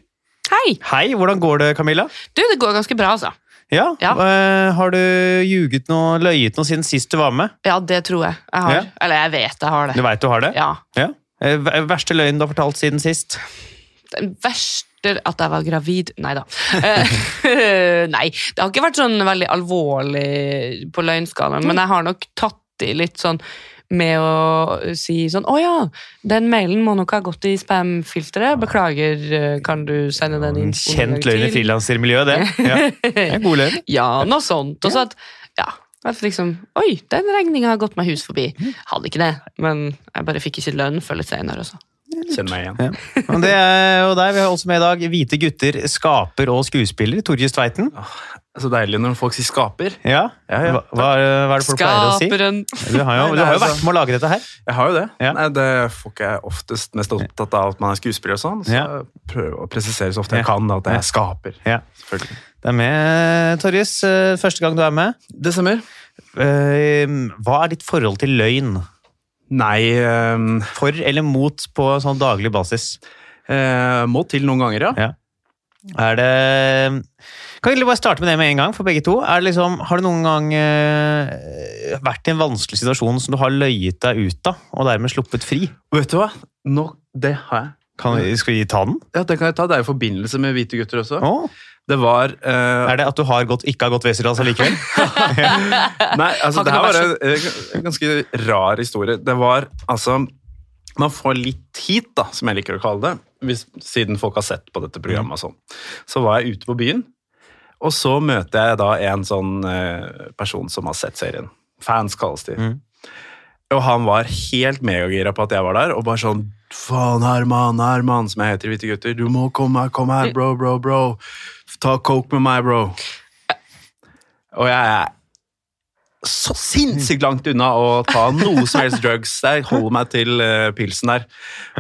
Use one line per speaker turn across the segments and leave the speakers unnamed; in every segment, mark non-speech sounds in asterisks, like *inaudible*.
Hei!
Hei, hvordan går det, Camilla?
Du, det går ganske bra, altså.
Ja,
Ja.
eh, Har du ljuget noe, løyet noe siden sist du var med?
Ja, det tror jeg jeg har.
Ja.
Eller jeg vet jeg har
Du
det.
veit du har det?
Ja.
Ja. Eh, ver- Verste løgnen du har fortalt siden sist?
Den verste At jeg var gravid Nei da. Eh, *laughs* Nei. Det har ikke vært sånn veldig alvorlig på løgnskalaen, men jeg har nok tatt i litt sånn med å si sånn Å ja, den mailen må nok ha gått i spam-filteret. Beklager, eh, kan du sende den inn?
En kjent løgn i frilansermiljøet, det. Ja.
*laughs*
det er en god løgn.
Ja, noe sånt. Og så at Ja. At liksom Oi, den regninga har gått meg hus forbi. Hadde ikke det, men jeg bare fikk ikke lønn før litt senere også.
Kjenn meg igjen.
Ja. Og det er jo deg. Vi har også med i dag hvite gutter, skaper og skuespiller. Torje Tveiten.
Så deilig når folk sier skaper.
Ja.
Ja, ja.
Hva, hva er hva er det folk pleier å si?
Skaperen. *laughs*
Du har jo, du har jo vært med å lage dette her.
Jeg har jo det.
Ja.
Nei, det får ikke jeg oftest mest opptatt av at man er skuespiller og sånn. Så
Ja.
jeg prøver å presisere så ofte jeg
Ja.
kan at
Ja.
jeg skaper.
Ja.
Selvfølgelig.
Det er med, Torjus. eh, Første gang du er med.
Det stemmer.
Eh, Hva er ditt forhold til løgn?
Nei ehm,
For eller mot på sånn daglig basis?
eh, Må til noen ganger, ja.
Ja. Er det Kan vi egentlig bare starte med det med en gang, for begge to. Er det liksom, har du noen gang eh, vært i en vanskelig situasjon som du har løyet deg ut av, og dermed sluppet fri?
Vet du hva? Nå, det har jeg.
Kan, vi- skal vi ta den?
Ja, det kan jeg ta. Det er i forbindelse med Hvite gutter også.
Å,
Det var eh,
er det at du har gått, ikke har gått Westerdals allikevel?
Nei, altså,
Har ikke
det her
noe
var en, eh, ganske rar historie. Det var altså Man får litt hit, da, som jeg liker å kalle det, hvis, siden folk har sett på dette programmet og sånn. Så var jeg ute på byen, og så møter jeg da en sånn eh, person som har sett serien. Fans kalles de.
Mm.
Og han var helt megagira på at jeg var der, og bare sånn Faen, Herman, Herman, som jeg heter i Hvite gutter. Du må komme her, kom her, bro, bro, bro. Ta coke med meg, bro. Og jeg er så sinnssykt langt unna å ta noe som helst drugs. Jeg holder meg til eh, pilsen der.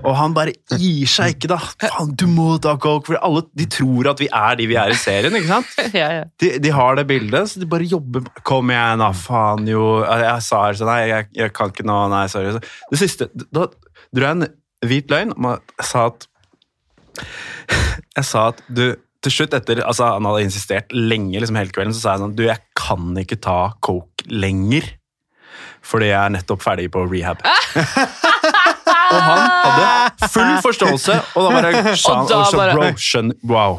Og han bare gir seg ikke, da. Faen, du må ta coke! For alle de tror at vi er de vi er i serien, ikke sant?
ja, ja.
De, de har det bildet, så de bare jobber Kom igjen, da, faen jo Jeg sa altså nei, jeg, jeg kan ikke nå, nei, sorry. Så Det siste Da dro jeg en hvit løgn om at jeg sa at *laughs* Jeg sa at du Til slutt, etter Altså, han hadde insistert lenge liksom hele kvelden, så sa jeg sånn Du, jeg kan ikke ta coke lenger. Fordi jeg er nettopp ferdig på rehab. og han hadde
*laughs*
full forståelse, og da bare sa han
Og da
og så,
bare-
Bro, skjønner Wow.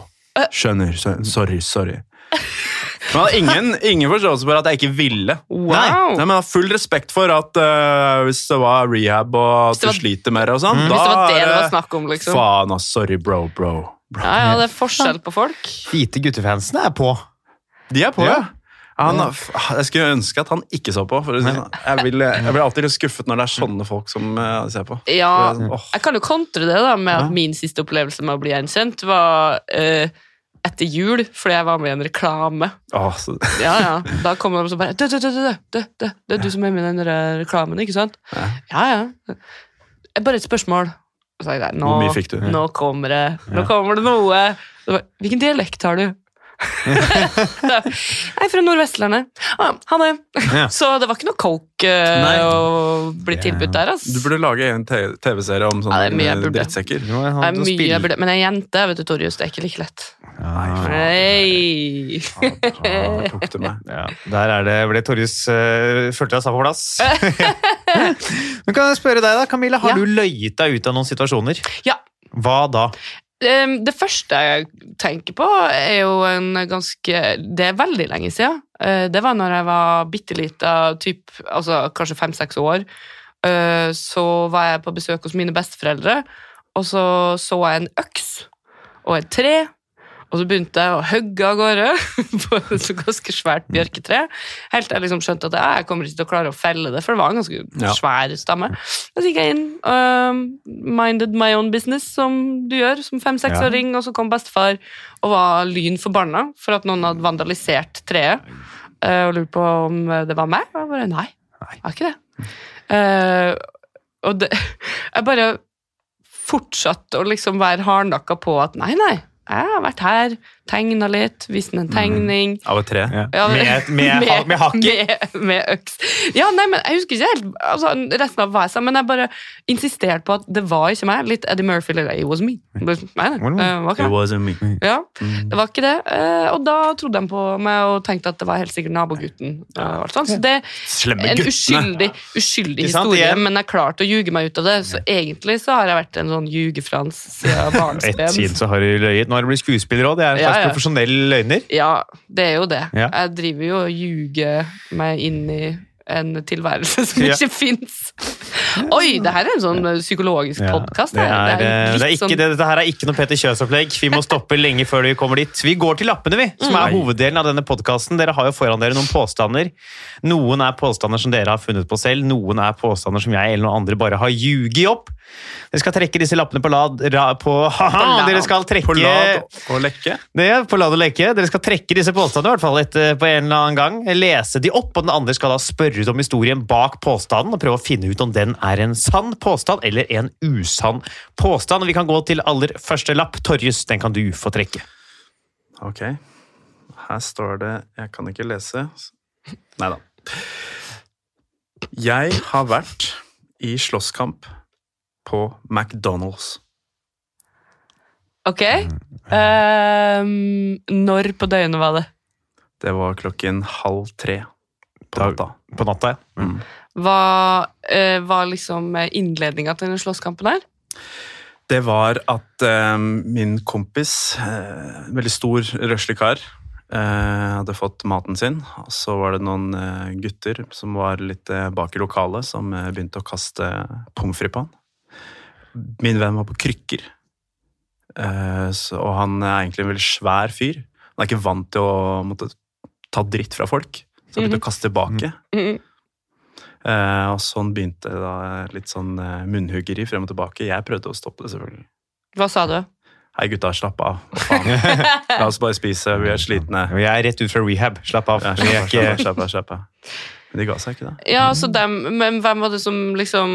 Skjønner. så- Sorry, sorry. Men han hadde ingen, ingen forståelse for at jeg ikke ville.
Wow.
Nei, men jeg har full respekt for at øh, hvis det var rehab og
det
at du
var- Mm.
sliter med det og sånn,
Hvis det var det
er
det var snakk om, liksom.
Faen, ass. Sorry, bro, bro. bro.
Ja, ja, det er forskjell på folk.
Hvite guttefansene er på.
De er på,
Ja.
ja. Han, f- ah, jeg skulle ønske at han ikke så på. For å si det sånn. jeg, blir, jeg blir alltid litt skuffet når det er sånne folk som øh, ser på.
Ja,
For det er sånn, åh.
jeg kan jo kontre det da, med
Ja.
at min siste opplevelse med å bli gjenkjent var eh, etter jul, fordi jeg var med i en reklame.
Åh, ah, så,
Ja, ja. Da kom de og så bare «Du, du, du, du, du, du, du, Det er du som er med i den der eh, reklamen, ikke sant?
Ja.
Ja, ja. Det er Bare et spørsmål. Og Så sa jeg, «Nei, nå,
Hvor mye fikk du?»
Nå kommer det, nå kommer det noe. Så Bare, Hvilken dialekt har du?
*laughs*
Jeg er fra Nordvestlandet. Ah, ha det.
Ja.
*laughs* Så det var ikke noe coke eh,
Nei.
å bli tilbudt der, ass.
du burde lage en te- TV-serie om sånne
Ja, det er mye jeg
øh,
burde.
drittsekker.
Nå er
Det
han
er
til å
mye
spille.
jeg burde, men jeg er jente, vet du, Torjus. Det er ikke like lett.
Nei,
Nei.
*laughs* Ja, da tok du meg.
Ja, der er det, ble Torjus uh, følte deg satt på plass.
*laughs*
Men kan jeg spørre deg da, Camilla, har
Ja.
du løyet deg ut av noen situasjoner?
Ja.
Hva da?
Ehm, Det første jeg tenker på, er jo en ganske Det er veldig lenge siden. Eh, Det var når jeg var bitte lita, typ, altså kanskje fem-seks år. Eh, Så var jeg på besøk hos mine besteforeldre, og så så jeg en øks og et tre. Og så begynte jeg å hogge av gårde *laughs* på et så ganske svært bjørketre. Helt til jeg liksom skjønte at ja, jeg kommer ikke til å klare å felle det, for det var en ganske
Ja.
svær stamme. Og så gikk jeg inn, um, minded my own business, som du gjør som fem-seksåring, og så kom bestefar og var lynforbanna for at noen hadde vandalisert treet. eh, Og lurte på om det var meg. Og jeg bare nei, det var ikke det. Eh, og det, *laughs* jeg bare fortsatte å liksom være hardnakka på at nei, nei, jeg har vært her, tegna litt, vist henne en tegning.
Av et tre.
Ja, men-
Med- med ha- med hakker?
*laughs* Med, med øks. Ja, nei, men jeg husker ikke helt altså, resten av hva jeg sa, men jeg bare insisterte på at det var ikke meg. Litt Eddie Murphy eller It was me. Nei, nei, det Eh, var ikke
It
meg.
wasn't me.
Ja,
Mm.
det var ikke det. Eh, Og da trodde de på meg og tenkte at det var helt sikkert nabogutten. eh, og alt sånt. Så det
Slemme
en
guttene.
uskyldig, uskyldig
Ikke sant,
historie,
igjen?
men jeg klarte å ljuge meg ut av det. Så egentlig så har jeg vært en sånn ljugefrans siden
Ett
barnsben.
siden så har du løyet. Nå har du blitt skuespiller òg. Det er en
Ja,
slags
ja.
profesjonell løgner.
Ja, det er jo det.
Ja.
Jeg driver jo og ljuger meg inn i en tilværelse som
Ja.
ikke fins. Oi, det her er en sånn psykologisk
Ja,
podkast.
det, er, eh, det er ikke,
sånn,
det, dette her er ikke noe Peter Kjøs-opplegg. Vi må stoppe lenge før du kommer dit. Vi går til lappene, vi, som er
Nei.
hoveddelen av denne podkasten. Dere har jo foran dere noen påstander. Noen er påstander som dere har funnet på selv, noen er påstander som jeg eller noen andre bare har ljuget opp. Dere skal trekke disse lappene på lad ra, på, *laughs* haha,
lad.
Dere skal trekke
På lad og lekke.
Det er på lad og leke. Dere skal trekke disse påstandene i hvert fall etter, på en eller annen gang. Lese de opp, og den andre skal da spørre ut om historien bak påstanden og prøve å finne ut om den er en sann påstand eller en usann påstand. Vi kan gå til aller første lapp. Torjus, den kan du få trekke.
Ok. Her står det Jeg kan ikke lese. Nei da. Jeg har vært i slåsskamp på McDonald's.
Ok. Ehm, når på døgnet var det?
Det var klokken halv tre på
Da-
natta.
På natta, ja.
Hva eh, var liksom innledninga til den slåsskampen her?
Det var at eh, min kompis, eh, veldig stor røslig kar, eh, hadde fått maten sin. Og så var det noen eh, gutter som var litt eh, bak i lokalet, som eh, begynte å kaste pommes frites på han. Min venn var på krykker, eh, så, og han er egentlig en veldig svær fyr. Han er ikke vant til å måtte ta dritt fra folk, så han begynte å kaste tilbake.
Mm.
Eh, og sånn begynte da litt sånn eh, munnhuggeri frem og tilbake. Jeg prøvde å stoppe det, selvfølgelig.
Hva sa du?
Hei gutta, slapp av. Hva
*laughs*
Faen. La oss bare spise, vi er slitne.
Vi er rett ut fra rehab. Slapp av.
Ja,
Vi er
slapp av,
ikke...
slapp av, slapp av, slapp av. Men de ga seg ikke, da.
Ja,
Mm.
så dem, men hvem var det som liksom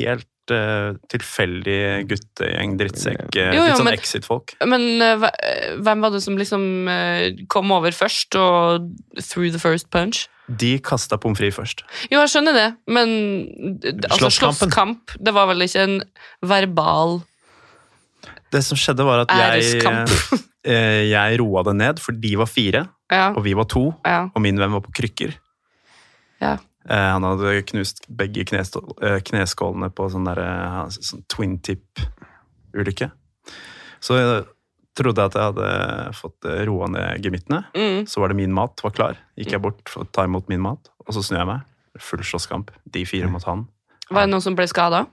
Helt eh, tilfeldig guttegjeng, drittsekk.
Jo,
eh,
jo,
litt sånn
men-
Exit-folk.
Men eh, hva- eh, hvem var det som liksom eh, kom over først og through the first punch?
De kasta pommes frites først.
Jo, jeg skjønner det, men d- d- altså,
Slåsskampen.
slåsskamp, det var vel ikke en verbal
Det som skjedde, var at jeg,
æreskamp?
eh, jeg roa det ned, for de var fire,
Ja,
og vi var to.
ja,
Og min venn var på krykker.
ja.
Eh, han hadde knust begge knestå- eh, kneskålene på sånn der, eh, sånn twin tip-ulykke. Så jeg trodde jeg at jeg hadde fått eh, roa ned gemyttene.
Mm.
Så var det min mat var klar. Gikk jeg bort for å ta imot min mat, og så snur jeg meg. Full slåsskamp. De fire mot han.
Var det noen som ble skada?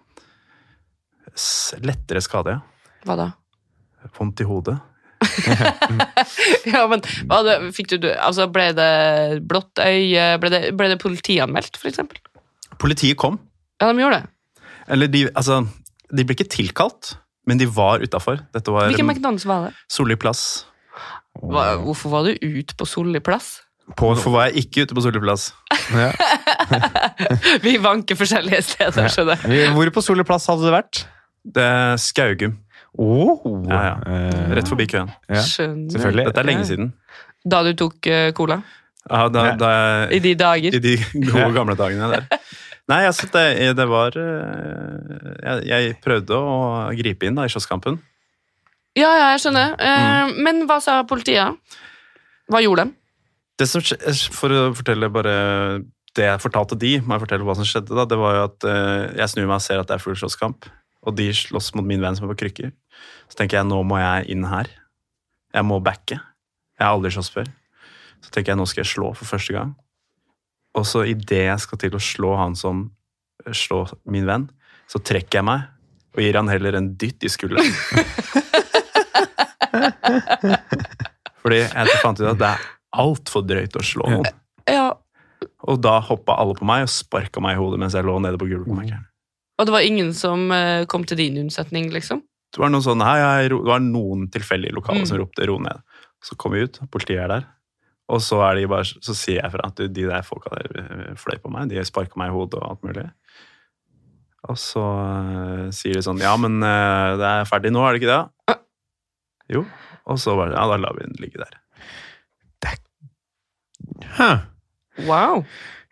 S- Lettere skade, ja.
Hva da? *laughs*
Vondt i hodet.
Ja, men hva det, fikk du, du- altså, Ble det blått øye? Ble det, ble det politianmeldt, for eksempel?
Politiet kom.
Ja, de gjorde det.
Eller de, altså, de ble ikke tilkalt, men de var utafor. Dette var
Hvilken
mm,
McDonald's var det?
Solli plass.
Hva, hvorfor var du ute på Solli plass? *laughs*
På,
Hvorfor var jeg ikke ute på Solli plass?
Vi vanker forskjellige steder, skjønner jeg.
hvor på Solli plass hadde du vært?
Det er Skaugum.
Oh,
Ja, ja.
eh,
Rett forbi køen.
Ja,
Skjønner.
Selvfølgelig.
Dette er lenge siden.
Da du tok eh, cola?
Ja, da, da,
I de dager?
I de gode, gamle dagene der. Nei, altså, det, det var eh, jeg, jeg prøvde å gripe inn da, i slåsskampen.
Ja, ja, jeg
Mm.
skjønner. Eh, Men hva sa politiet? Hva gjorde de?
Det som, skje- eh, for å fortelle bare det jeg fortalte de, må jeg fortelle hva som skjedde da, det var jo at eh, jeg snur meg og ser at det er full slåsskamp, og de slåss mot min venn som er på krykker. Så tenker jeg, nå må jeg inn her. Jeg må backe. Jeg har aldri slåss før. Så tenker jeg, nå skal jeg slå for første gang. Og så i det jeg skal til å slå han som eh, slår min venn, så trekker jeg meg, og gir han heller en dytt i skulderen. Fordi jeg fant ut at det er altfor drøyt å slå noen.
Ja,
Og da hoppa alle på meg og sparka meg i hodet mens jeg lå nede på gulvet.
og det var ingen som eh, kom til din unnsetning, liksom?
Det var noen sånne, hei, hei, ro- det var noen tilfeldige lokale
Mm.
som ropte 'ro ned'. Så kom vi ut, politiet er der. Og så, er de bare, så sier jeg fra at de der folka der eh, fløy på meg. De sparka meg i hodet og alt mulig. Og så eh, sier de sånn 'ja, men eh, det er ferdig nå, er det ikke det?' Jo. Og så bare 'ja, da lar vi den ligge der'.
Hæ.
Wow.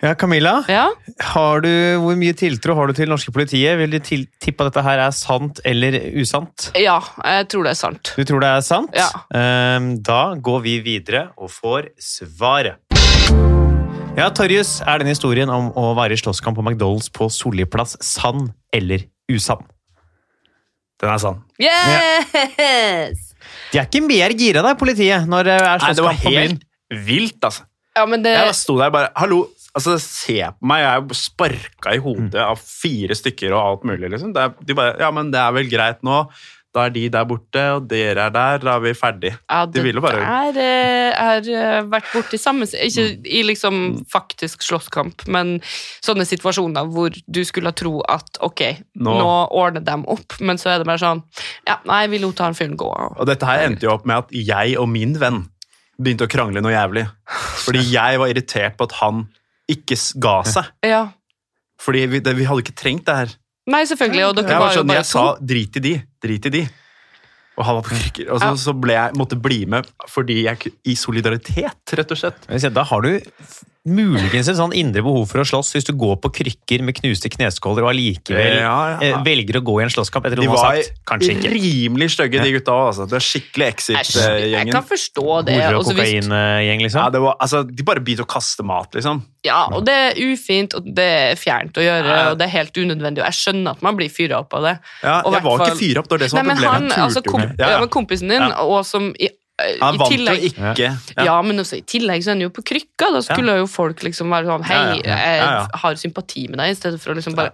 Ja, Camilla,
Ja,
har du, hvor mye tiltro har du til norske politiet? Vil du til, tippe at dette her er sant eller usant?
ja jeg tror det er sant.
Du tror det er sant?
Ja.
Ehm, Da går vi videre og får svaret. Ja, Torjus, er denne historien om å være i slåsskamp på McDonald's på Solli plass sann eller usann?
Den er sann.
Yes!
De er ikke mer gira, da, politiet, når det er
Nei, det var
slåsskamp på byen.
helt vilt, altså.
Ja, men det
Jeg bare sto der bare Hallo! Altså, se på meg, jeg er sparka i hodet
Mm.
av fire stykker og alt mulig, liksom. Det er, de bare Ja, men det er vel greit nå. Da er de der borte, og dere er der. Da er vi ferdig.
ja,
de ville bare- Mm.
der eh, har eh, vært borti samme si- Ikke i liksom faktisk slåsskamp, men sånne situasjoner hvor du skulle tro at ok, nå,
Nå-
ordner de opp, men så er det bare sånn Ja, nei, vi lot han fyren gå.
Og dette her endte jo opp med at jeg og min venn begynte å krangle noe jævlig. Fordi jeg var irritert på at han ikke s- ga seg.
Ja.
Fordi vi, det, vi hadde ikke trengt det her.
Nei, selvfølgelig, og dere
Jeg var
var jo
sånn,
bare
jeg sa
to.
'drit i de', drit i de. Og han var på krykker. Og så, så ble jeg, måtte bli med fordi jeg ku- I solidaritet, rett og slett.
Jeg vil si, Da har du muligens et sånn indre behov for å slåss hvis du går på krykker med knuste kneskåler og allikevel
Ja, ja.
eh, velger å gå i en slåsskamp etter
De
noen
var
har sagt kanskje ikke.
rimelig stygge, de gutta. også, Altså. Det er skikkelig
Æsj, jeg
Exit-gjengen.
kan forstå det.
Horer og
Også hvis-
kokaingjeng,
altså, Ja,
liksom.
det var, altså, de bare begynte å kaste mat, liksom.
Ja, og det er ufint, og det er fjernt å gjøre,
Ja.
og det er helt unødvendig, og jeg skjønner at man blir fyret opp av det.
Ja,
Og
jeg var
hvertfall-
ikke fyra opp, det var det som
Nei,
var
men han,
problemet. Han,
altså komp ja,
ja,
men kompisen din,
Ja.
og som i, eh,
han
i
vant
tillegg
jo ikke.
ja.
Ja.
men også i tillegg så er han jo på krykka. Da skulle jo folk liksom være sånn Hei,
Ja, ja, ja. Ja, ja.
jeg har sympati med deg, i stedet for å liksom bare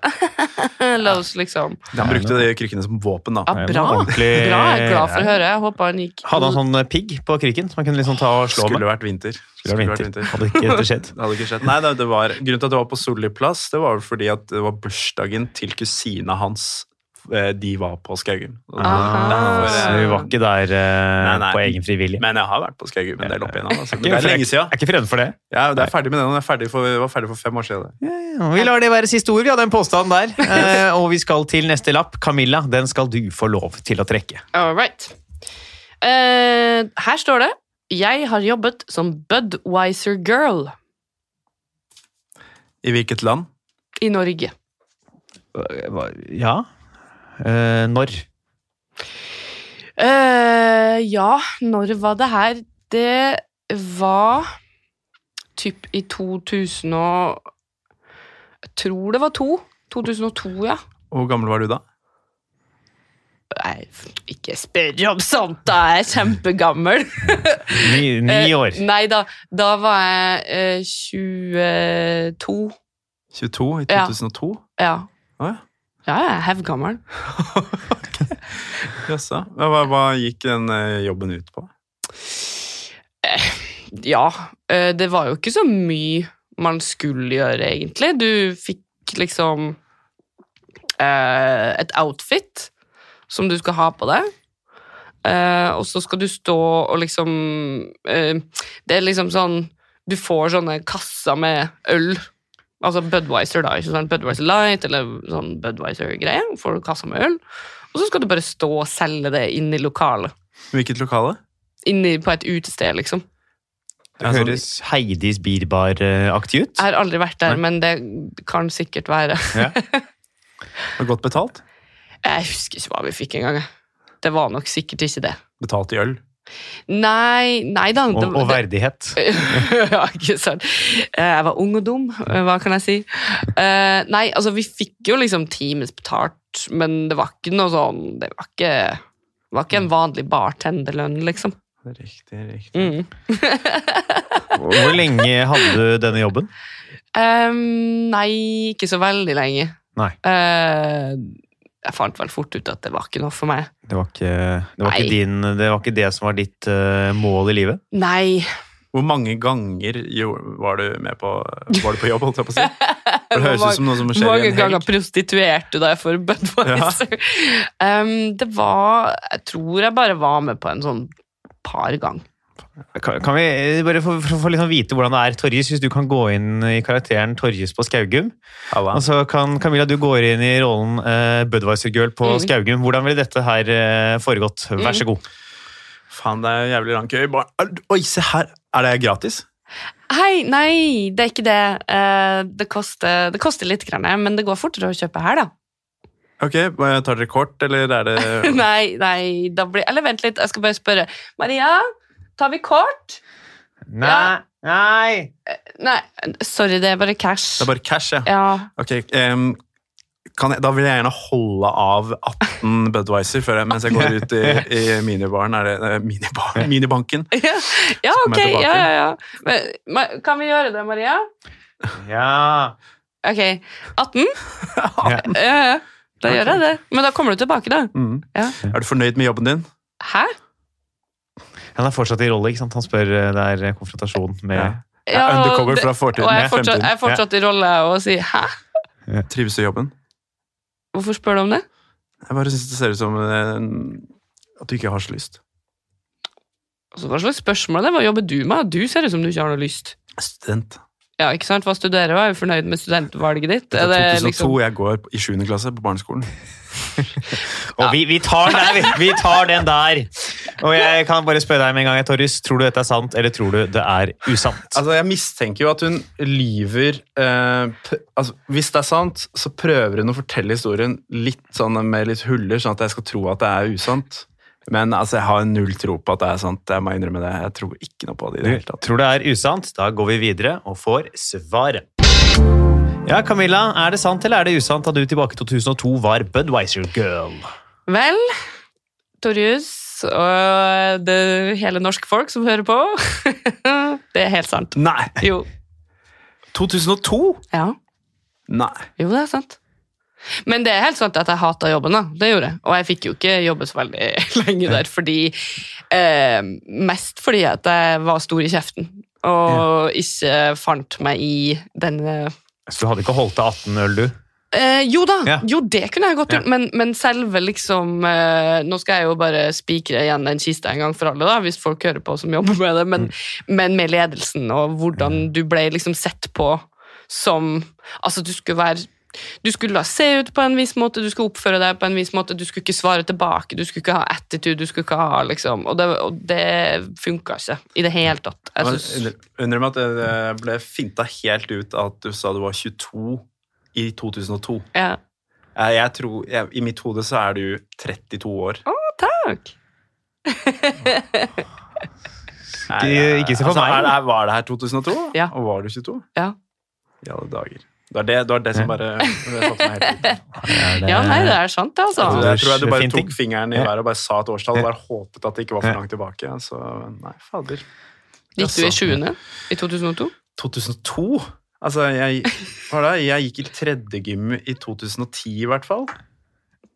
*laughs* La oss liksom
Han brukte de krykkene som våpen,
Ja,
da.
men
bra. Bra,
ordentlig-
jeg er glad for å høre. Jeg håper han gikk
Hadde han sånn eh, pigg på krykken som han kunne liksom ta og slå
Skulle
med?
vært vinter.
Skulle vært vinter. Hadde ikke dette skjedd.
Det *laughs* hadde ikke skjedd. Nei, nei, det var, grunnen til at det var på Solli plass, det var vel fordi at det var bursdagen til kusina hans. eh, De var på Skaugum. Og det-
Aha.
derfor,
Så
eh,
vi var ikke der eh,
Nei, nei.
Ah. på egen frivillig.
Men jeg har vært på Skaugum en del opp igjennom. Altså.
Ikke
Men Det er
fred-
lenge
Jeg
siden.
er ikke fremmed for det.
Ja, det er ferdig med det nå. Det er ferdig for, vi var ferdig for fem år siden. det.
Ja, Vi lar det være siste ord, vi hadde en påstand *laughs* der. Eh, og vi skal til neste lapp. Camilla, den skal du få lov til å trekke.
sånn-
All right. Eh, her står det Jeg har jobbet som Budwiser Girl
I hvilket land?
i Norge.
Ja. Eh, når?
Eh, ja, når var det her? Det var typ i 2000 og Jeg tror det var to. 2002, ja.
Hvor gammel var du da?
Nei, ikke spør om sånt, da! Jeg er kjempegammel.
Ni, ni år.
Eh, nei da, da var jeg eh, 22.
22? I
Ja.
2002?
Ja.
Å ja.
Ja, jeg er hevgammel.
Jaså. Hva, hva- hva gikk den eh, jobben ut på?
Ja, eh, det var jo ikke så mye man skulle gjøre, egentlig. Du fikk liksom eh, et outfit som du skal ha på deg. Eh, og så skal du stå og liksom eh, Det er liksom sånn Du får sånne kasser med øl. Altså Budwiser, da. Ikke sånn Budwiser Light eller sånn Budwiser-greie. Får du kasser med øl. Og så skal du bare stå og selge det inn i lokalet.
Hvilket lokale?
Inni på et utested, liksom.
Det
sånn Altså-
høres Heidis Bierbar-aktig ut.
Jeg har aldri vært der, men det kan sikkert være.
Sånn, godt betalt?
Jeg husker ikke hva vi fikk engang. jeg. Det var nok sikkert ikke det.
Betalt i øl.
Nei, nei da.
Og,
det-
og verdighet.
*laughs* ja, ikke sant. Eh, Jeg var ung og dum, eh, hva kan jeg si? Eh, Nei, altså vi fikk jo liksom times betalt, men det var ikke noe sånn Det var ikke, det var ikke en vanlig bartenderlønn, liksom.
Riktig, riktig.
Mm.
Hvor lenge hadde du denne jobben?
Eh, nei, ikke så veldig lenge.
Nei.
Eh, jeg fant vel fort ut at det var ikke noe for meg.
Det var ikke det, var ikke
Nei.
din, det, var ikke det som var ditt eh, mål i livet?
Nei,
Hvor mange ganger jo, var du med på Var du på jobb,
*laughs*
holdt jeg på å si? For det høres
Hvor
ut som noe som skjer i
mange
en
ganger
helg.
prostituerte da jeg for *laughs* Budwiser. Em, det var Jeg tror jeg bare var med på en sånn par gang.
Kan, kan vi eh, bare få, få, få liksom vite hvordan det er, Torjus, hvis du kan gå inn i karakteren Torjus på Skaugum?
Halla.
Og så kan Camilla, du går inn i rollen eh, Budwiser-girl på
Mm.
Skaugum. Hvordan ville dette her eh, foregått? Vær så god.
Faen, det er jævlig lang kø. i bar- Er- Oi, se her! Er det gratis?
Hei, nei, det er ikke det. Eh, det, koster, det koster litt, grann, men det går fortere å kjøpe her, da.
Ok, hva- Tar dere kort, eller er det
*laughs* Nei, nei, da blir Eller vent litt, jeg skal bare spørre. Maria, tar vi kort? Nei,
nei!
Nei, sorry, det er bare cash.
Det er bare cash, ja. *laughs*
Ja.
Ok, em, kan jeg, Da vil jeg gjerne holde av
*laughs*
18 Budwiser før jeg, mens jeg går ut i, i minibaren. Er det, eh, minibar, minibanken?
ja, ok.
kommer jeg tilbake.
Ja, ja, ja. Men, ma- kan vi gjøre det, Maria?
Ja.
Ok, 18?
Ja.
Ja, ja. Da gjør jeg det. Men da kommer du tilbake, da.
Mm.
Ja.
Er du fornøyd med jobben din?
Hæ?
Han er fortsatt i rolle, ikke sant? Han spør eh, Det er eh, konfrontasjon med
Ja.
Ja,
er undercover
det-
fra
og
fortiden
jeg
med
er fortsatt, jeg
fremtiden?
er fortsatt i rolle og sier 'hæ?
Trives du i jobben?
Hvorfor spør du om det?'
Jeg bare syns det ser ut som eh, at du ikke har så lyst.
Altså, hva slags spørsmål er det? Hva jobber du med? Du ser ut som du ikke har noe lyst.
Student.
Ja, ikke sant? Hva studerer du? Er du fornøyd med studentvalget ditt?
Det
Er det
2002,
liksom
jeg går i 7. klasse på barneskolen.
Og vi, vi, tar den der, vi, vi tar den der! Og jeg kan bare spørre deg med en gang, Torjus. Tror du dette er sant, eller tror du det er usant?
Altså, Jeg mistenker jo at hun lyver eh, p altså, Hvis det er sant, så prøver hun å fortelle historien litt sånn med litt huller, sånn at jeg skal tro at det er usant. Men altså, jeg har null tro på at det er sant. Jeg må innrømme det. Jeg tror ikke noe på det i det hele tatt.
Tror det er usant? Da går vi videre og får svaret. Ja, Camilla, er det sant eller er det usant at du tilbake i 2002 var Budwiser-girl?
Vel, Torjus og det hele norske folk som hører på. *laughs* det er helt sant.
Nei!
Jo.
2002?
Ja.
Nei.
Jo, det er sant. Men det er helt sant at jeg hata jobben, da. Det gjorde jeg. Og jeg fikk jo ikke jobbe så veldig *laughs* lenge der, fordi eh, Mest fordi at jeg var stor i kjeften, og ikke fant meg i den eh,
Så du hadde ikke holdt til 18 øl, du?
Eh, jo da,
Ja.
jo det kunne jeg godt
Ja.
gjort, men, men selve liksom eh, Nå skal jeg jo bare spikre igjen den kista en gang for alle, da, hvis folk hører på som jobber med det, men, men med ledelsen og hvordan du ble liksom sett på som Altså, du skulle være du skulle da se ut på en viss måte, du skulle oppføre deg på en viss måte, du skulle ikke svare tilbake, du skulle ikke ha attitude, du skulle ikke ha liksom Og det, og det funka ikke i det hele tatt. Jeg
Men
synes-
undrer- Undrer meg at jeg ble finta helt ut at du sa du var 22 i 2002.
ja.
Jeg, Eh, jeg tror, jeg, I mitt hode så er du 32 år.
Takk!
Nei,
Ikke- ikke se på meg.
Er, er, var det her 2002?
Ja.
Og var du 22?
Ja.
I alle dager. Det var det, det, var det som bare det satte meg
*laughs*
helt ut.
Ja, nei, det er sant, det, altså.
Så Jeg tror jeg du bare
Fin ting.
tok fingeren i
Ja.
været og bare sa et årstall og
Ja.
bare håpet at det ikke var for langt tilbake. Så nei, fader.
Gikk du i
Jaså.
20. i 2002?
2002? Altså, jeg, hva da? jeg gikk i tredje gym i 2010 i hvert fall.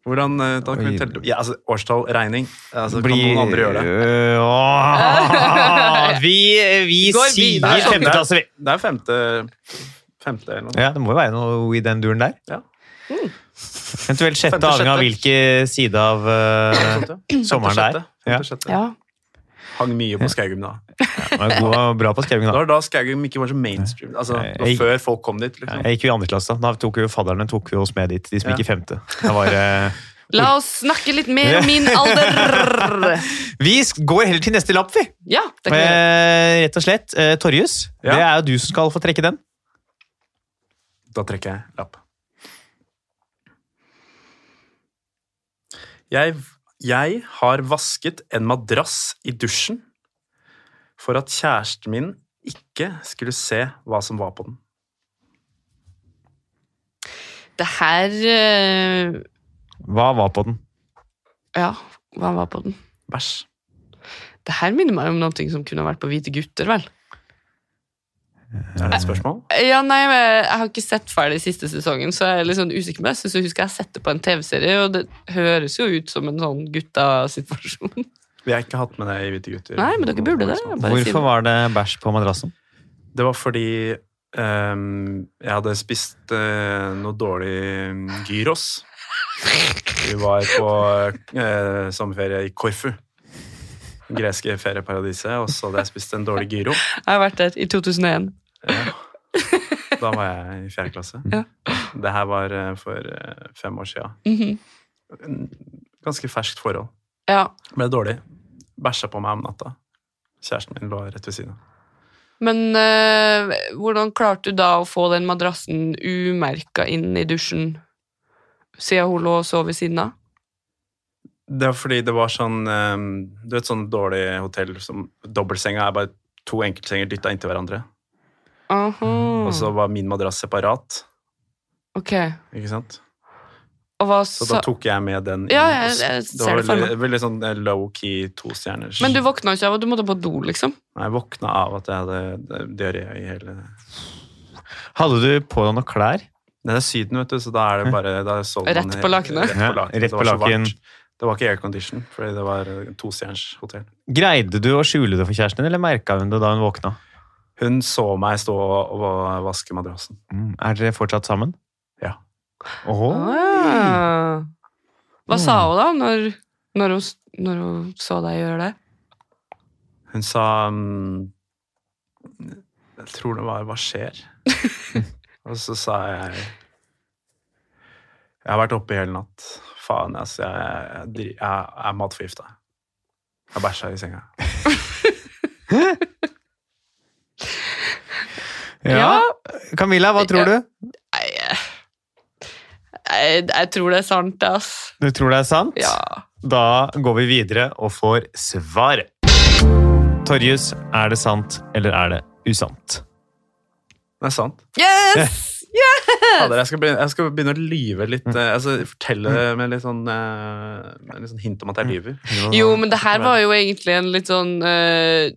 Hvordan eh, da kan vi telle ja, altså, Årstall, regning. Altså, kan noen andre
*laughs*
gjøre det?
Øh, åh, vi vi
Går videre.
sier femte klasse, vi.
Det er femte, femte eller noe.
Sånn. Ja, det må jo være noe i den duren der.
Ja.
Mm.
Eventuelt sjette,
Femte,
avhengig av
sjette.
hvilken side av *laughs* eh,
Sånt, ja.
sommeren det er.
Femte, sjette.
Ja.
Femte, sjette.
Ja.
Hang mye på Skaugum da.
Jeg var god og bra på skreving,
Det
da.
var da Skaugum ikke var så mainstream. Altså,
Nei,
det var
jeg-
før folk kom dit. Liksom.
Jeg gikk jo i andre klasse. Da tok jo fadderne tok jo oss med dit, de som
Ja.
gikk i femte. Da var, eh,
La oss snakke litt mer om min alder!
vi sk- går heller til neste lapp, vi.
Ja, det kan vi gjøre.
Eh, rett og slett. Eh, Torjus,
Ja.
det er jo du som skal få trekke den.
Da trekker jeg lapp. Jeg, jeg har vasket en madrass i dusjen for at kjæresten min ikke skulle se hva som var på den.
Det her eh,
Hva var på den?
Ja, hva var på den?
Bæsj.
Det her minner meg om noe som kunne vært på Hvite gutter, vel?
Er det et spørsmål?
Ja, nei, men Jeg har ikke sett ferdig siste sesongen, så jeg er litt sånn usikker. Men jeg synes jeg husker jeg har sett det på en TV-serie, og det høres jo ut som en sånn
*laughs*
gutta-situasjon.
Vi har ikke hatt med det i Hvite gutter.
Nei, men dere burde det. Jeg bare sier
Hvorfor var det bæsj på madrassen?
Det var fordi ehm, jeg hadde spist eh, noe dårlig mm, gyros. Vi var på eh, sommerferie i Korfu. Det Greske ferieparadiset. Og så hadde jeg spist en dårlig gyro.
Jeg har vært der i 2001.
Ja. Da var jeg i fjerde klasse.
Ja.
Det her var eh, for eh, fem år sia.
Mhm.
Ganske ferskt forhold.
Ja,
Ble dårlig. Bæsja på meg om natta. Kjæresten min lå rett ved siden av.
Men eh, hvordan klarte du da å få den madrassen umerka inn i dusjen, siden hun lå og sov ved siden av?
Det var fordi det var sånn ehm, Du vet sånn dårlig hotell som Dobbeltsenga er bare to enkeltsenger dytta inntil hverandre.
Aha.
Og så var min madrass separat.
Ok.
Ikke sant?
Og hva
Så
sa
da tok jeg med den inn.
Ja, jeg- jeg
det
ser
var
det for
veldig, veldig sånn eh, low-key tostjerners.
Men du våkna ikke av at du måtte på do, liksom?
Jeg våkna av at jeg hadde eh, diaré i hele
Hadde du på deg noen klær?
Det er Syden, vet du, så da er det bare da sov man
Rett på lakenet.
Rett
Ja,
på laken.
rett
Det var
på
så varmt.
laken.
Det var ikke aircondition, fordi det var eh, tostjerners hotell.
Greide du å skjule det for kjæresten din, eller merka hun det da hun våkna?
Hun så meg stå og og vaske madrassen.
Mm. Er dere fortsatt sammen?
Ja.
Åhå.
Ah. Hva sa hun da, når, når, hun, s- når hun så deg gjøre det?
Hun sa mm, Jeg tror det var 'hva skjer?' og så sa jeg 'Jeg har vært oppe i hele natt. Faen, altså. Jeg, jeg, dri- jeg, jeg er matforgifta. Jeg bæsja i senga.
Ja. Camilla, hva tror du?
Nei, eh, jeg, jeg tror det er sant, ass.
Du tror det er sant?
Ja.
Da går vi videre og får svaret. Torjus, er det sant eller er det usant?
Det er sant.
Yes!
*laughs* Fader, jeg, skal begynne, jeg skal begynne å lyve litt. eh, altså, fortelle det med litt sånn, eh, med litt sånn hint om at jeg lyver.
Jo, men det her var jo egentlig en litt sånn eh,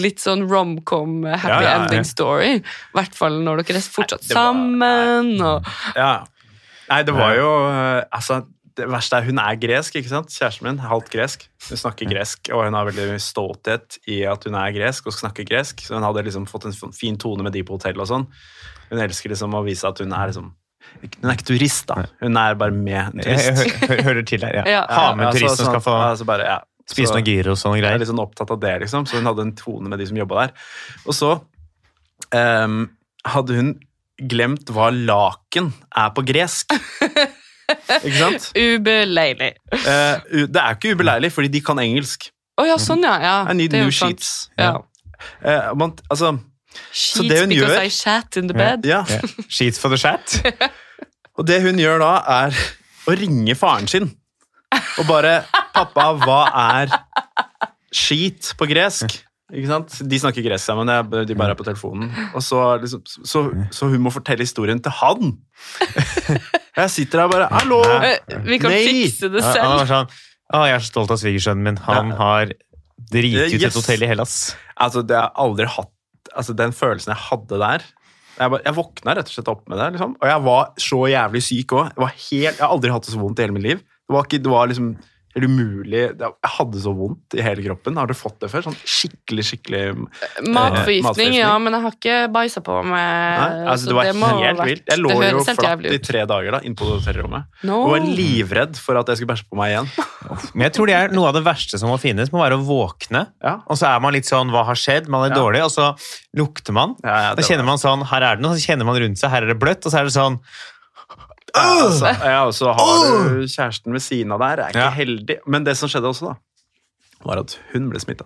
Litt sånn romcom eh, happy
Ja, ja, ja.
ending story. I hvert fall når dere er fortsatt
Nei, det var-
sammen. Og,
Ja. Nei, det var jo eh, Altså, det verste er hun er gresk, ikke sant? Kjæresten min er halvt gresk. Hun snakker gresk, og hun har veldig mye stolthet i at hun er gresk og snakker gresk. Så hun hadde liksom fått en f- fin tone med de på hotellet og sånn. Hun elsker liksom å vise at hun er liksom Hun er ikke turist, da. Hun er bare med en
Jeg, jeg,
turist.
hø- hø- hører til her, ja. altså,
*laughs* Ja.
Ha med
Ja, så-
turisten som
sånn-
skal få
ja, så bare, ja.
spise
Så-
noen gyros og noen
jeg er
greier.
litt sånn opptatt av det, liksom. Så hun hadde en tone med de som jobba der. Og så ehm, hadde hun glemt hva laken er på
*laughs*
gresk. Ikke sant?
Ubeleilig.
Eh, u- det er ikke ubeleilig, fordi de kan engelsk.
Å ja, sånn, ja. ja.
I need
det er jo
new
sant.
sheets.
Ja.
Eh, man, altså,
Sheets
det hun
because I
gjør-
shat in the bed.
ja.
Ja. Sheets for the
*laughs*
chat.
Og det hun gjør da, er å ringe faren sin og bare 'Pappa, hva er skit på gresk?' Ikke sant? De snakker gresk sammen, det er- de bare er på telefonen. Og så, liksom, så, så hun må fortelle historien til han! *laughs* Jeg sitter der bare 'Hallo!'
Eh, Vi kan
Nei. ah.
fikse det
Ja, han var
selv.
sånn, å, jeg er så stolt av svigersønnen min. Han
Ja.
har driti ut
Yes.
et hotell i Hellas.
Altså, det har jeg aldri hatt altså, Den følelsen jeg hadde der jeg, bare, jeg våkna rett og slett opp med det, liksom. og jeg var så jævlig syk òg. Jeg har aldri hatt det så vondt i hele mitt liv. Det var, ikke, det var liksom helt umulig det, Jeg hadde så vondt i hele kroppen. Har du fått det før? Sånn skikkelig, skikkelig Nei,
Matforgiftning,
matforgiftning.
ja, men jeg har ikke bæsja på meg.
altså,
så
Det var
må ha
helt
vært-
vilt. Jeg lå
det
jo
høres helt
flatt
jævlig
i
ut.
tre dager da, inne på hotellrommet
No.
og var livredd for at jeg skulle bæsje på meg igjen.
Men jeg tror det er noe av det verste som må finnes, må være å våkne.
Ja.
Og så er man litt sånn, hva har skjedd? Man er
Ja.
dårlig, og så lukter man. Da
Ja, ja, det
kjenner
var-
man sånn, her er det noe, så kjenner man rundt seg, her er det bløtt, og så er det sånn,
Ja, altså, ja, og så har du kjæresten ved siden av der. Er ikke
Ja.
heldig. Men det som skjedde også, da, var at hun ble smitta.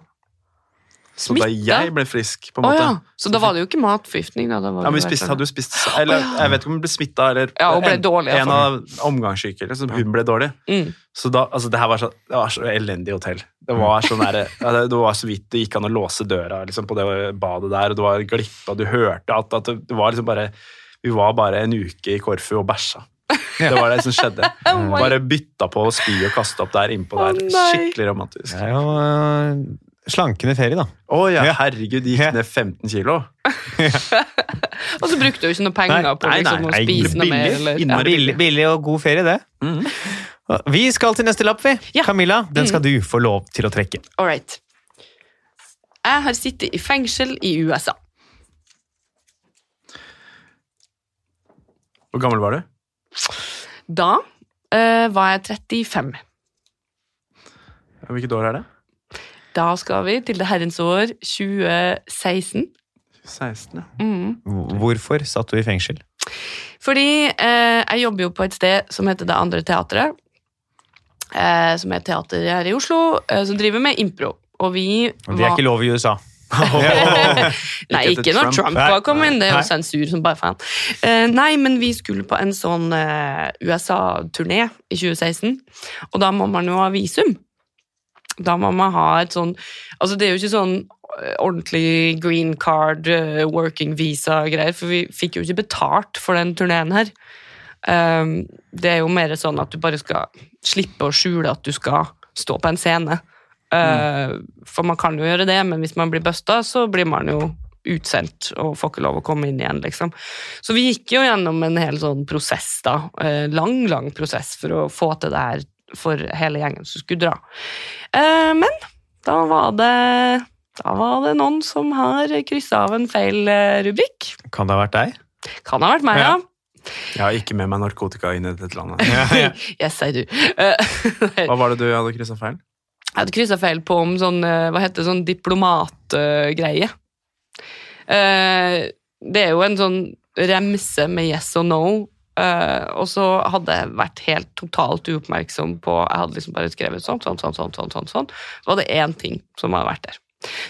Så da jeg
Smitte?
ble frisk,
Å
på en måte
ja. Så da var det jo ikke matforgiftning, da. da var
ja, men
det sånn-
vi
jo
spiste,
et
Hadde
eller
hun spist Eller jeg vet ikke om hun ble smitta, eller
Ja, hun ble
en,
dårlig,
en
iallfall.
av omgangssyke. Liksom, hun ble dårlig.
annet.
Så da, altså, det her var så, det var så elendig hotell. Det var, sånn der, ja, det- det var så vidt det gikk an å låse døra liksom, på det badet der, og det var glippa, du hørte at, at det var liksom bare Vi var bare en uke i Korfu og bæsja. Det var det som skjedde.
Oh my-
Bare bytta på å spy og kaste opp der innpå
Å
der.
nei.
Skikkelig romantisk.
det er jo øh, slankende ferie, da.
Å ja,
Ja.
herregud, de
Ja.
gikk ned 15 kilo.
Og så brukte du jo ikke noe penger
Nei,
på
nei,
liksom,
nei, nei,
å spise noe
billig,
mer. Eller, ja.
innmari
Billig, Mm. billig og god ferie, det. Vi skal til neste lapp, vi.
Ja. Mm.
Camilla, den skal du få lov til å trekke.
All right. Jeg har sittet i fengsel i USA.
Hvor gammel var du?
Da eh, var jeg 35.
Hvilket år er det?
Da skal vi til det herrens år 2016.
16, ja.
Mm.
Hvorfor satt du i fengsel?
Fordi eh, jeg jobber jo på et sted som heter Det andre teatret. Eh, som er et teater her i Oslo, eh, som driver med impro. Og vi
Og Det er ikke lov i USA.
*laughs* Nei, ikke
Ikke etter
når
Trump.
Trump
Nei.
var kommet inn. Det er jo
Nei.
sensur som bare faen. Eh, nei, men vi skulle på en sånn eh, USA-turné i 2016, og da må man jo ha visum. Da må man ha et sånn Altså, det er jo ikke sånn eh, ordentlig green card, eh, working visa-greier, for vi fikk jo ikke betalt for den turneen her. Eh, det er jo mer sånn at du bare skal slippe å skjule at du skal stå på en scene. Eh, For man kan jo gjøre det, men hvis man blir busta, så blir man jo utsendt og får ikke lov å komme inn igjen, liksom. Så vi gikk jo gjennom en hel sånn prosess, da. eh, Lang, lang prosess for å få til det her for hele gjengen som skulle dra. Eh, Men da var det da var det noen som har kryssa av en feil eh, rubrikk.
Kan det ha vært deg?
Kan ha vært meg,
Ja.
ja.
Jeg har ikke med meg narkotika inn i dette landet.
Yes, I do. Eh, *laughs* nei.
Hva var det du hadde kryssa feil?
Jeg hadde kryssa feil på om sånn eh, Hva heter det, sånn diplomatgreie. Eh, det er jo en sånn remse med yes og no. eh, og så hadde jeg vært helt totalt uoppmerksom på Jeg hadde liksom bare skrevet sånn, sånn, sånn, sånn. sånn, sånn, sånn. Så var det én ting som hadde vært der.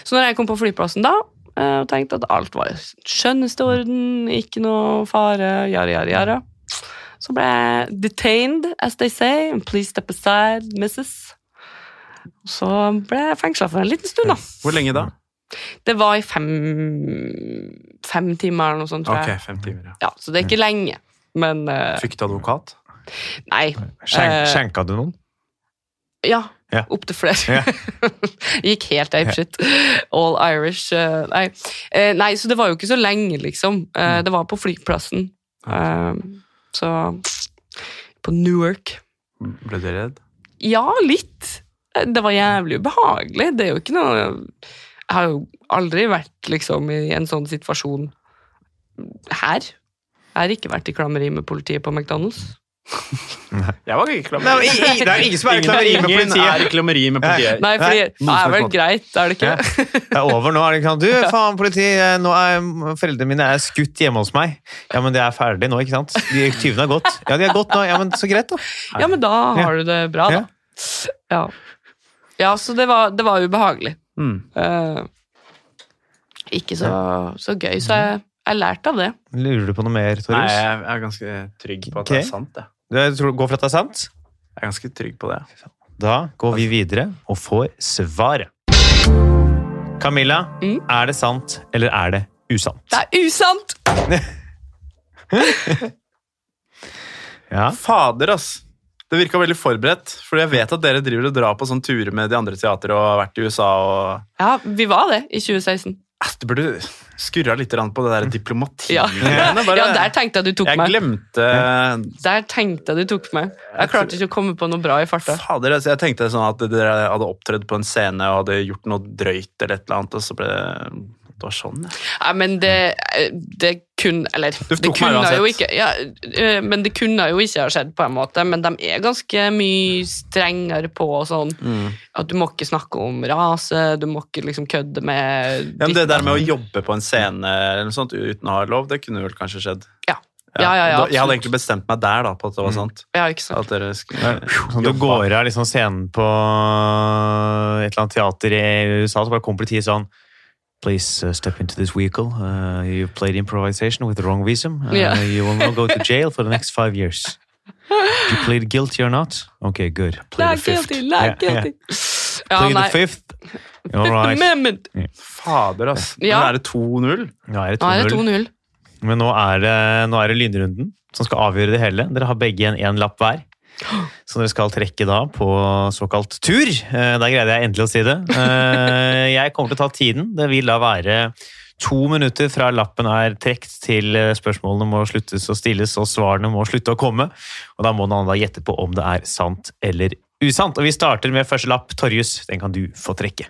Så når jeg kom på flyplassen da, eh, og tenkte at alt var i skjønneste orden, ikke noe fare, yara, yara, yara, så ble jeg detained, as they say. Please step aside, missus. Så ble jeg fengsla for en liten stund, da.
Hvor lenge da?
Det var i fem, fem timer eller noe sånt, tror
Ok,
jeg.
fem timer. ja.
Ja, så det er
Mm.
ikke lenge. Men eh,
Fikk du advokat?
nei.
Skjenk,
Eh.
skjenka du noen?
Ja.
Ja.
opp Opptil flere. *laughs* Gikk helt apeshit. All Irish. eh, nei. Eh, nei, så det var jo ikke så lenge, liksom.
Mm.
Eh, det var på flyplassen. Eh, så På Newark.
Ble du redd?
Ja, litt. Det var jævlig ubehagelig. Det er jo ikke noe Jeg har jo aldri vært liksom i en sånn situasjon her. Jeg har ikke vært i klammeri med politiet på McDonald's.
Jeg var ikke
Det er ingen- det er ingen som er i klammeri med
Ingen
politiet.
er i klammeri med politiet.
Nei, fordi
Nei,
det er vel
noen
greit, er det ikke?
Ja. Det er over nå. er det ikke sant? Du, faen, politi, eh, nå er foreldrene mine er skutt hjemme hos meg. Ja, men det er ferdig nå, ikke sant? De tyvene har gått. Ja, de har gått nå. Ja, men så greit, da.
*laughs* Ja, men da har du det bra, da. Ja, ja så det var, det var ubehagelig.
Mm.
Eh, ikke så, så gøy, så jeg, jeg lærte av det.
Lurer du på noe mer,
Nei,
Torjus?
jeg er ganske trygg på at det
Ok.
er sant. Jeg.
Du tror, går for at det er sant?
jeg er ganske trygg på det.
Da går vi videre og får svaret. Camilla,
Mm.
er det sant eller er det usant?
Det er usant!
Ja.
Fader, ass! Det virka veldig forberedt. For jeg vet at dere driver og drar på sånne turer med de andre teatrene og har vært i USA og
Ja, vi var det i 2016.
Ass, Du burde skurra litt grann på det der diplomatiet.
Ja, *laughs* ja der tenkte jeg du tok
jeg
meg.
glemte
Der tenkte jeg du tok meg. Jeg klarte ikke å komme på noe bra i farta.
Fader, altså, jeg tenkte sånn at dere hadde opptredd på en scene og hadde gjort noe drøyt eller et eller annet, og så ble det Det var sånn, ja.
Nei, men det, det kunne Eller
Du
det
tok meg
kunne
uansett.
jo ikke ja, øh, Men det kunne jo ikke ha skjedd, på en måte. Men de er ganske mye strengere på sånn
Mm.
at du må ikke snakke om rase, du må ikke liksom kødde med
ja men det der med å jobbe på en scene eller noe sånt uten å ha lov, det kunne vel kanskje skjedd.
Ja, ja, ja. ja,
Da- jeg hadde
absolutt. Mm.
egentlig bestemt meg der da, på at det var sant.
ja ikke sant.
At dere skulle
Sånn, du går av liksom scenen på et eller annet teater i USA, så bare kommer politiet sånn Please uh, step into this vehicle. Uh, you played improvisation with the wrong visum. Uh,
Ja.
You will now go to jail for the next five years. You plead guilty or not? Okay, good. Plead
Lag
the fifth.
guilty, lag
Yeah, yeah.
guilty. Ja,
Plead the
nei.
fifth. All
*laughs*
right.
Amendment.
Fader, ass.
Ja.
Men er det 2-0?
Nå er det
Nå er det
2-0.
2-0.
Men nå er, det, nå er det lynrunden som skal avgjøre det hele. Dere har begge igjen én lapp hver. som dere skal trekke da på såkalt tur. Eh, Der greide jeg endelig å si det. Eh, *laughs* Jeg kommer til å ta tiden. Det vil da være to minutter fra lappen er trukket til eh, spørsmålene må sluttes å stilles og svarene må slutte å komme. Og da må den andre gjette på om det er sant eller usant. Og vi starter med første lapp. Torjus, den kan du få trekke.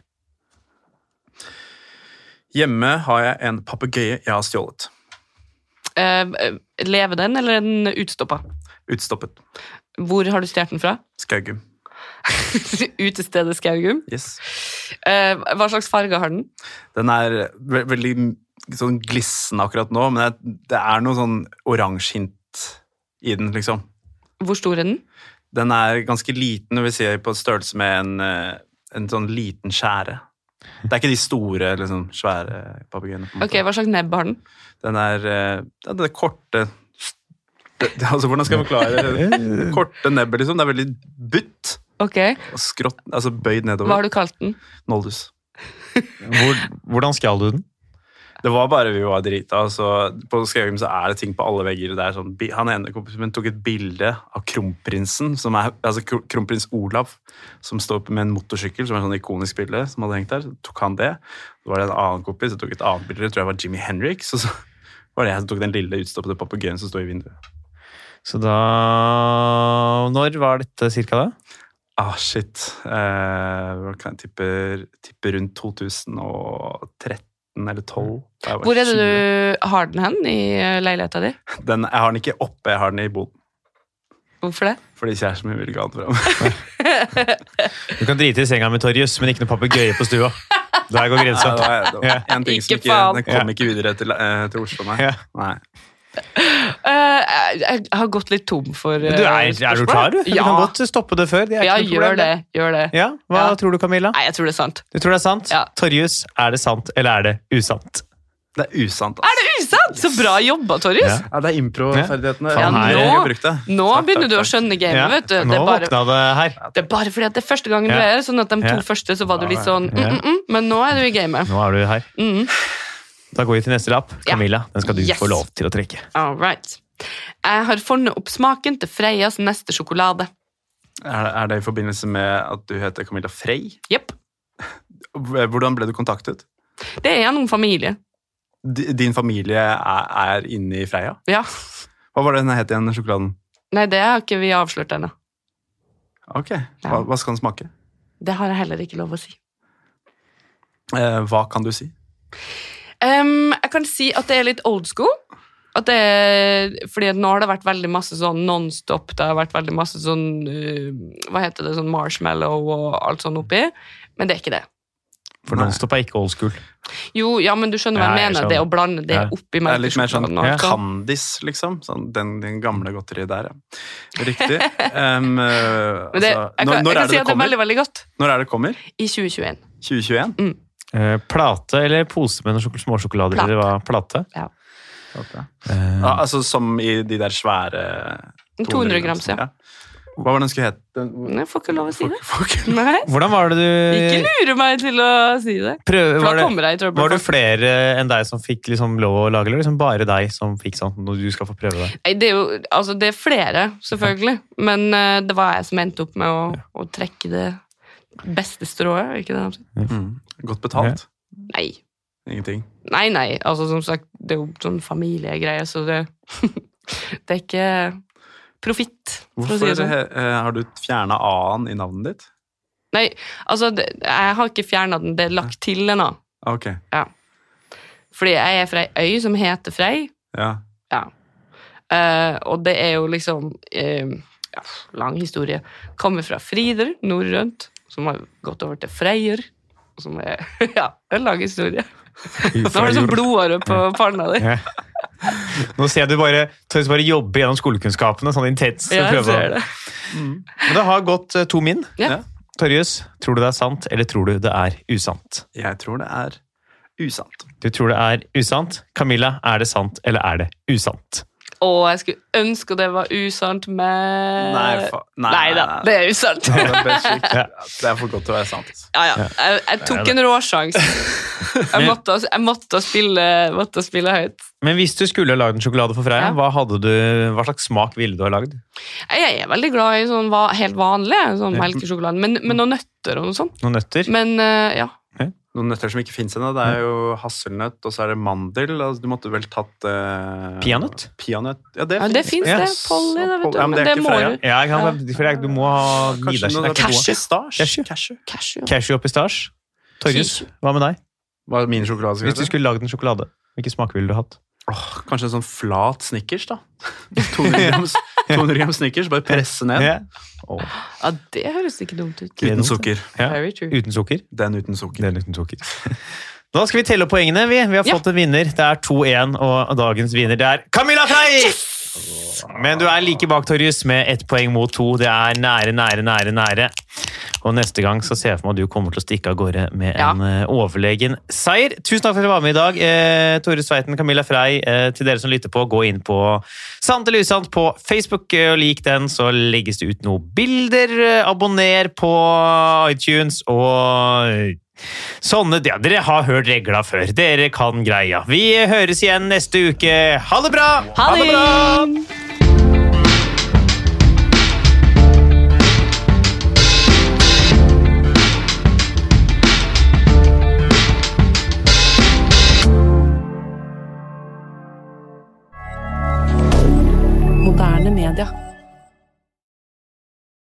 Hjemme har jeg en papegøye jeg har stjålet.
Eh, lever den, eller er den utstoppa?
Utstoppet.
Hvor har du stjålet den fra? *laughs*
Skaugum.
Utestedet Skaugum.
Yes.
Eh, hva slags farge har den?
Den er ve veldig sånn glissende akkurat nå, men det, det er noe sånn oransje hint i den, liksom.
Hvor stor er den?
Den er ganske liten, vil si på størrelse med en, eh, en sånn liten skjære. Det er ikke de store, liksom, svære papegøyene. på en måte.
Ok, Hva slags nebb har den?
Den er eh, ja, det er korte det, det, altså, Hvordan skal jeg forklare det? Korte nebbet, liksom. Det er veldig butt
Ok,
og skrått, altså bøyd
Hva har
nedover.
du kalt den?
Noldus.
Hvor, hvordan skal du den?
Det var bare vi var drita. Altså, på Skaugum så er det ting på alle vegger. Det er sånn, bi- han ene kompisen min tok et bilde av kronprinsen, som er, altså kro- kronprins Olav, som står på- med en motorsykkel, som er sånn ikonisk bilde, som hadde hengt der. Så tok han det. Så var det en annen kompis som tok et annet bilde, det tror jeg var Jimmy Henriks. Og så var det jeg som tok den lille utstoppede papegøyen som står i vinduet.
Så da Når var dette cirka, da?
Ah, shit. Eh, hva kan jeg tippe, tippe rundt 2013 eller 12. Da jeg var
Hvor er det
20.
du har den hen i eh, leiligheta di?
Den, jeg har den ikke oppe, jeg har den i boden.
Hvorfor det?
Fordi kjæresten min ville ikke ha den fram.
Du kan drite i senga med Torjus, men ikke noe papegøye på stua. Der går
Nei, det
grensa.
var, det var en ting
Ikke
som ikke,
faen.
den kom ikke videre til, eh, til Oslo, nei.
Ja.
nei.
Eh, jeg, jeg har gått litt tom for eh,
Du er, er du
spørsmål.
klar, du? Du
Ja,
kan godt stoppe det før. Det er
ja
ikke noe problem,
gjør det. gjør det.
Ja, Hva
Ja.
tror du, Camilla?
Nei, jeg tror det er sant.
Du tror det er sant?
Ja.
Torjus, er det sant, eller er det usant?
Det er usant, ass.
Usant! Så bra jobba, Torjus!
Ja.
Ja, det er improferdighetene.
Ja,
Faen,
nå-
jeg har brukt det.
Nå
Takk,
begynner
takk,
du å
takk.
skjønne gamet,
Ja,
vet du. Det
Nå
er bare
våkna det her.
Det er bare fordi at det er første gangen du
Ja.
er her, sånn at de to
Ja.
første så var du litt
Ja,
sånn mm, mm, mm, Men nå er du i gamet.
Nå er du her.
Mm.
Da går vi til neste lapp.
Ja.
Camilla, den skal du
Yes.
få lov til å trekke.
All right. Jeg har funnet opp smaken til Freias neste sjokolade.
Er det, er det i forbindelse med at du heter Camilla Frey?
Jepp.
Hvordan ble du kontaktet?
Det er gjennom familie.
D- Din familie er, er inne i Freia?
Ja.
Hva var det den het igjen, sjokoladen?
Nei, det har ikke vi avslørt ennå.
Ok, hva, hva skal den smake?
Det har jeg heller ikke lov å si.
Eh, hva kan du si?
Em, jeg kan si at det er litt old school. At det er, fordi at nå har det vært veldig masse sånn nonstop. Det har vært veldig masse sånn eh, Hva heter det? sånn Marshmallow og alt sånn oppi. Men det er ikke det.
For
Nei.
Nonstop er ikke old school.
Jo, ja, men du skjønner hva
Ja,
jeg
jeg
mener.
skjønner.
Det å blande det
Ja.
oppi
Det er litt mer sånn
melkesjokoladen. og alt sånt.
Candis, liksom. Sånn, den, den gamle godteriet der, ja. Riktig.
*laughs*
Em, eh,
Men det,
altså,
jeg kan,
når,
jeg kan si
når er det det
at det er
kommer?
veldig, veldig godt.
Når er det kommer?
I 2021.
2021?
Eh, plate eller pose med noen sjok- småsjokolader?
Plate.
Plate. Eller hva? Plate? Eh,
Ja, altså som i de der svære
200 grams, ja.
Hva var den skulle hete? Den-
Men Jeg får ikke lov å si det.
Fuck, fuck.
Nei,
Hvordan var det
ikke
du
lure meg til å si det.
prøv,
For
var,
da
det,
kommer jeg i trøbbel.
var det flere enn deg som fikk liksom lov å lage, eller liksom bare deg som fikk sånn når du skal få prøve det?
Nei, det er jo altså, det er flere, selvfølgelig. Men eh, det var jeg som endte opp med å, å trekke det beste strået. ikke det? han sier?
Mm. Godt betalt?
Nei.
Ingenting.
Nei, nei. Altså, som sagt, det er jo sånn familiegreie, så det *laughs* Det er ikke profitt, for å
Hvorfor
si det sånn.
eh, har du fjerna A-en i navnet ditt?
Nei, altså, det, jeg har ikke fjerna den. Det er lagt til ennå.
Ah, Ok,
Fordi jeg er fra ei øy som heter Frei.
ja.
Ja. Eh, og det er jo liksom eh, ja, Lang historie. Kommer fra Frider, norrønt, som har gått over til Freyr. og Som er *laughs* Ja, det er en lang historie. Nå har du sånn blodåre på panna di. *laughs*
Ja. *laughs* Nå ser jeg du bare, Torjus bare jobber gjennom skolekunnskapene sånn intenst.
Ja, jeg
Prøve å-
ser det.
Men det har gått eh, to min.
Ja.
Ja.
Torjus, tror du det er sant, eller tror du det er usant?
Jeg tror det er usant.
Du tror det er usant. Camilla, er det sant, eller er det usant?
Å, jeg skulle ønske det var usant, men
Nei, fa- nei,
Nei da,
nei, nei.
det er usant.
Det er best skikt. Det er for godt til å være sant. altså.
Ja, ja. Jeg, jeg tok en råsjanse. Jeg måtte, jeg måtte, spille, måtte spille høyt.
Men hvis du skulle ha lagd en sjokolade for Freia,
Ja.
hva, hadde du, hva slags smak ville du ha lagd?
Jeg er veldig glad i sånn va- helt vanlig sånn melkesjokolade, men, men noen nøtter og noe sånt.
Noen nøtter?
Men eh, ja.
Noen nøtter som ikke fins ennå. Det er jo hasselnøtt, og så er det mandel. Altså, du måtte vel tatt eh,
Peanøtt?
Peanøtt. Ja, det,
ja, det
finnes.
fins
Ja.
det. Polly, det vet du.
Ja, men det er ikke
må
Freia.
du.
Ja, ikke sant? For jeg- du må ha
Kanskje noe
Nidar.
Cashew.
pistasje?
Cashew.
Cashew.
Cashew.
Cashew og pistasje. Torjus, hva med deg?
Hva er min sjokolade?
Hvis du
Skal skulle...
skulle lagd en sjokolade, hvilken smak ville du hatt?
Åh, kanskje en sånn flat Snickers, da. *laughs* 200 grams, 200 gram Snickers, bare presse ned.
Ja.
Ja, det høres ikke dumt ut.
Gleder
Uten
meg.
sukker.
Ja.
Very true.
Uten sukker?
Den uten sukker.
Det er uten sukker. *laughs* Nå skal vi telle opp poengene. Vi, vi har
Ja.
fått en vinner. Det er 2-1, og dagens vinner det er Camilla Frey! Men du er like bak, Torjus, med ett poeng mot to. Det er nære, nære, nære. nære. Og neste gang så ser jeg for meg at du kommer til å stikke av gårde med
Ja.
en eh, overlegen seier. Tusen takk for at dere var med i dag. Eh, Tore Sveiten, Camilla Frey, eh, til dere som lytter på, gå inn på Sant eller usant på Facebook eh, og lik den, så legges det ut noen bilder. Eh, Abonner på iTunes og Sånne, ja, Dere har hørt regla før. Dere kan greia. Vi høres igjen neste uke. Ha det bra!
Ha det!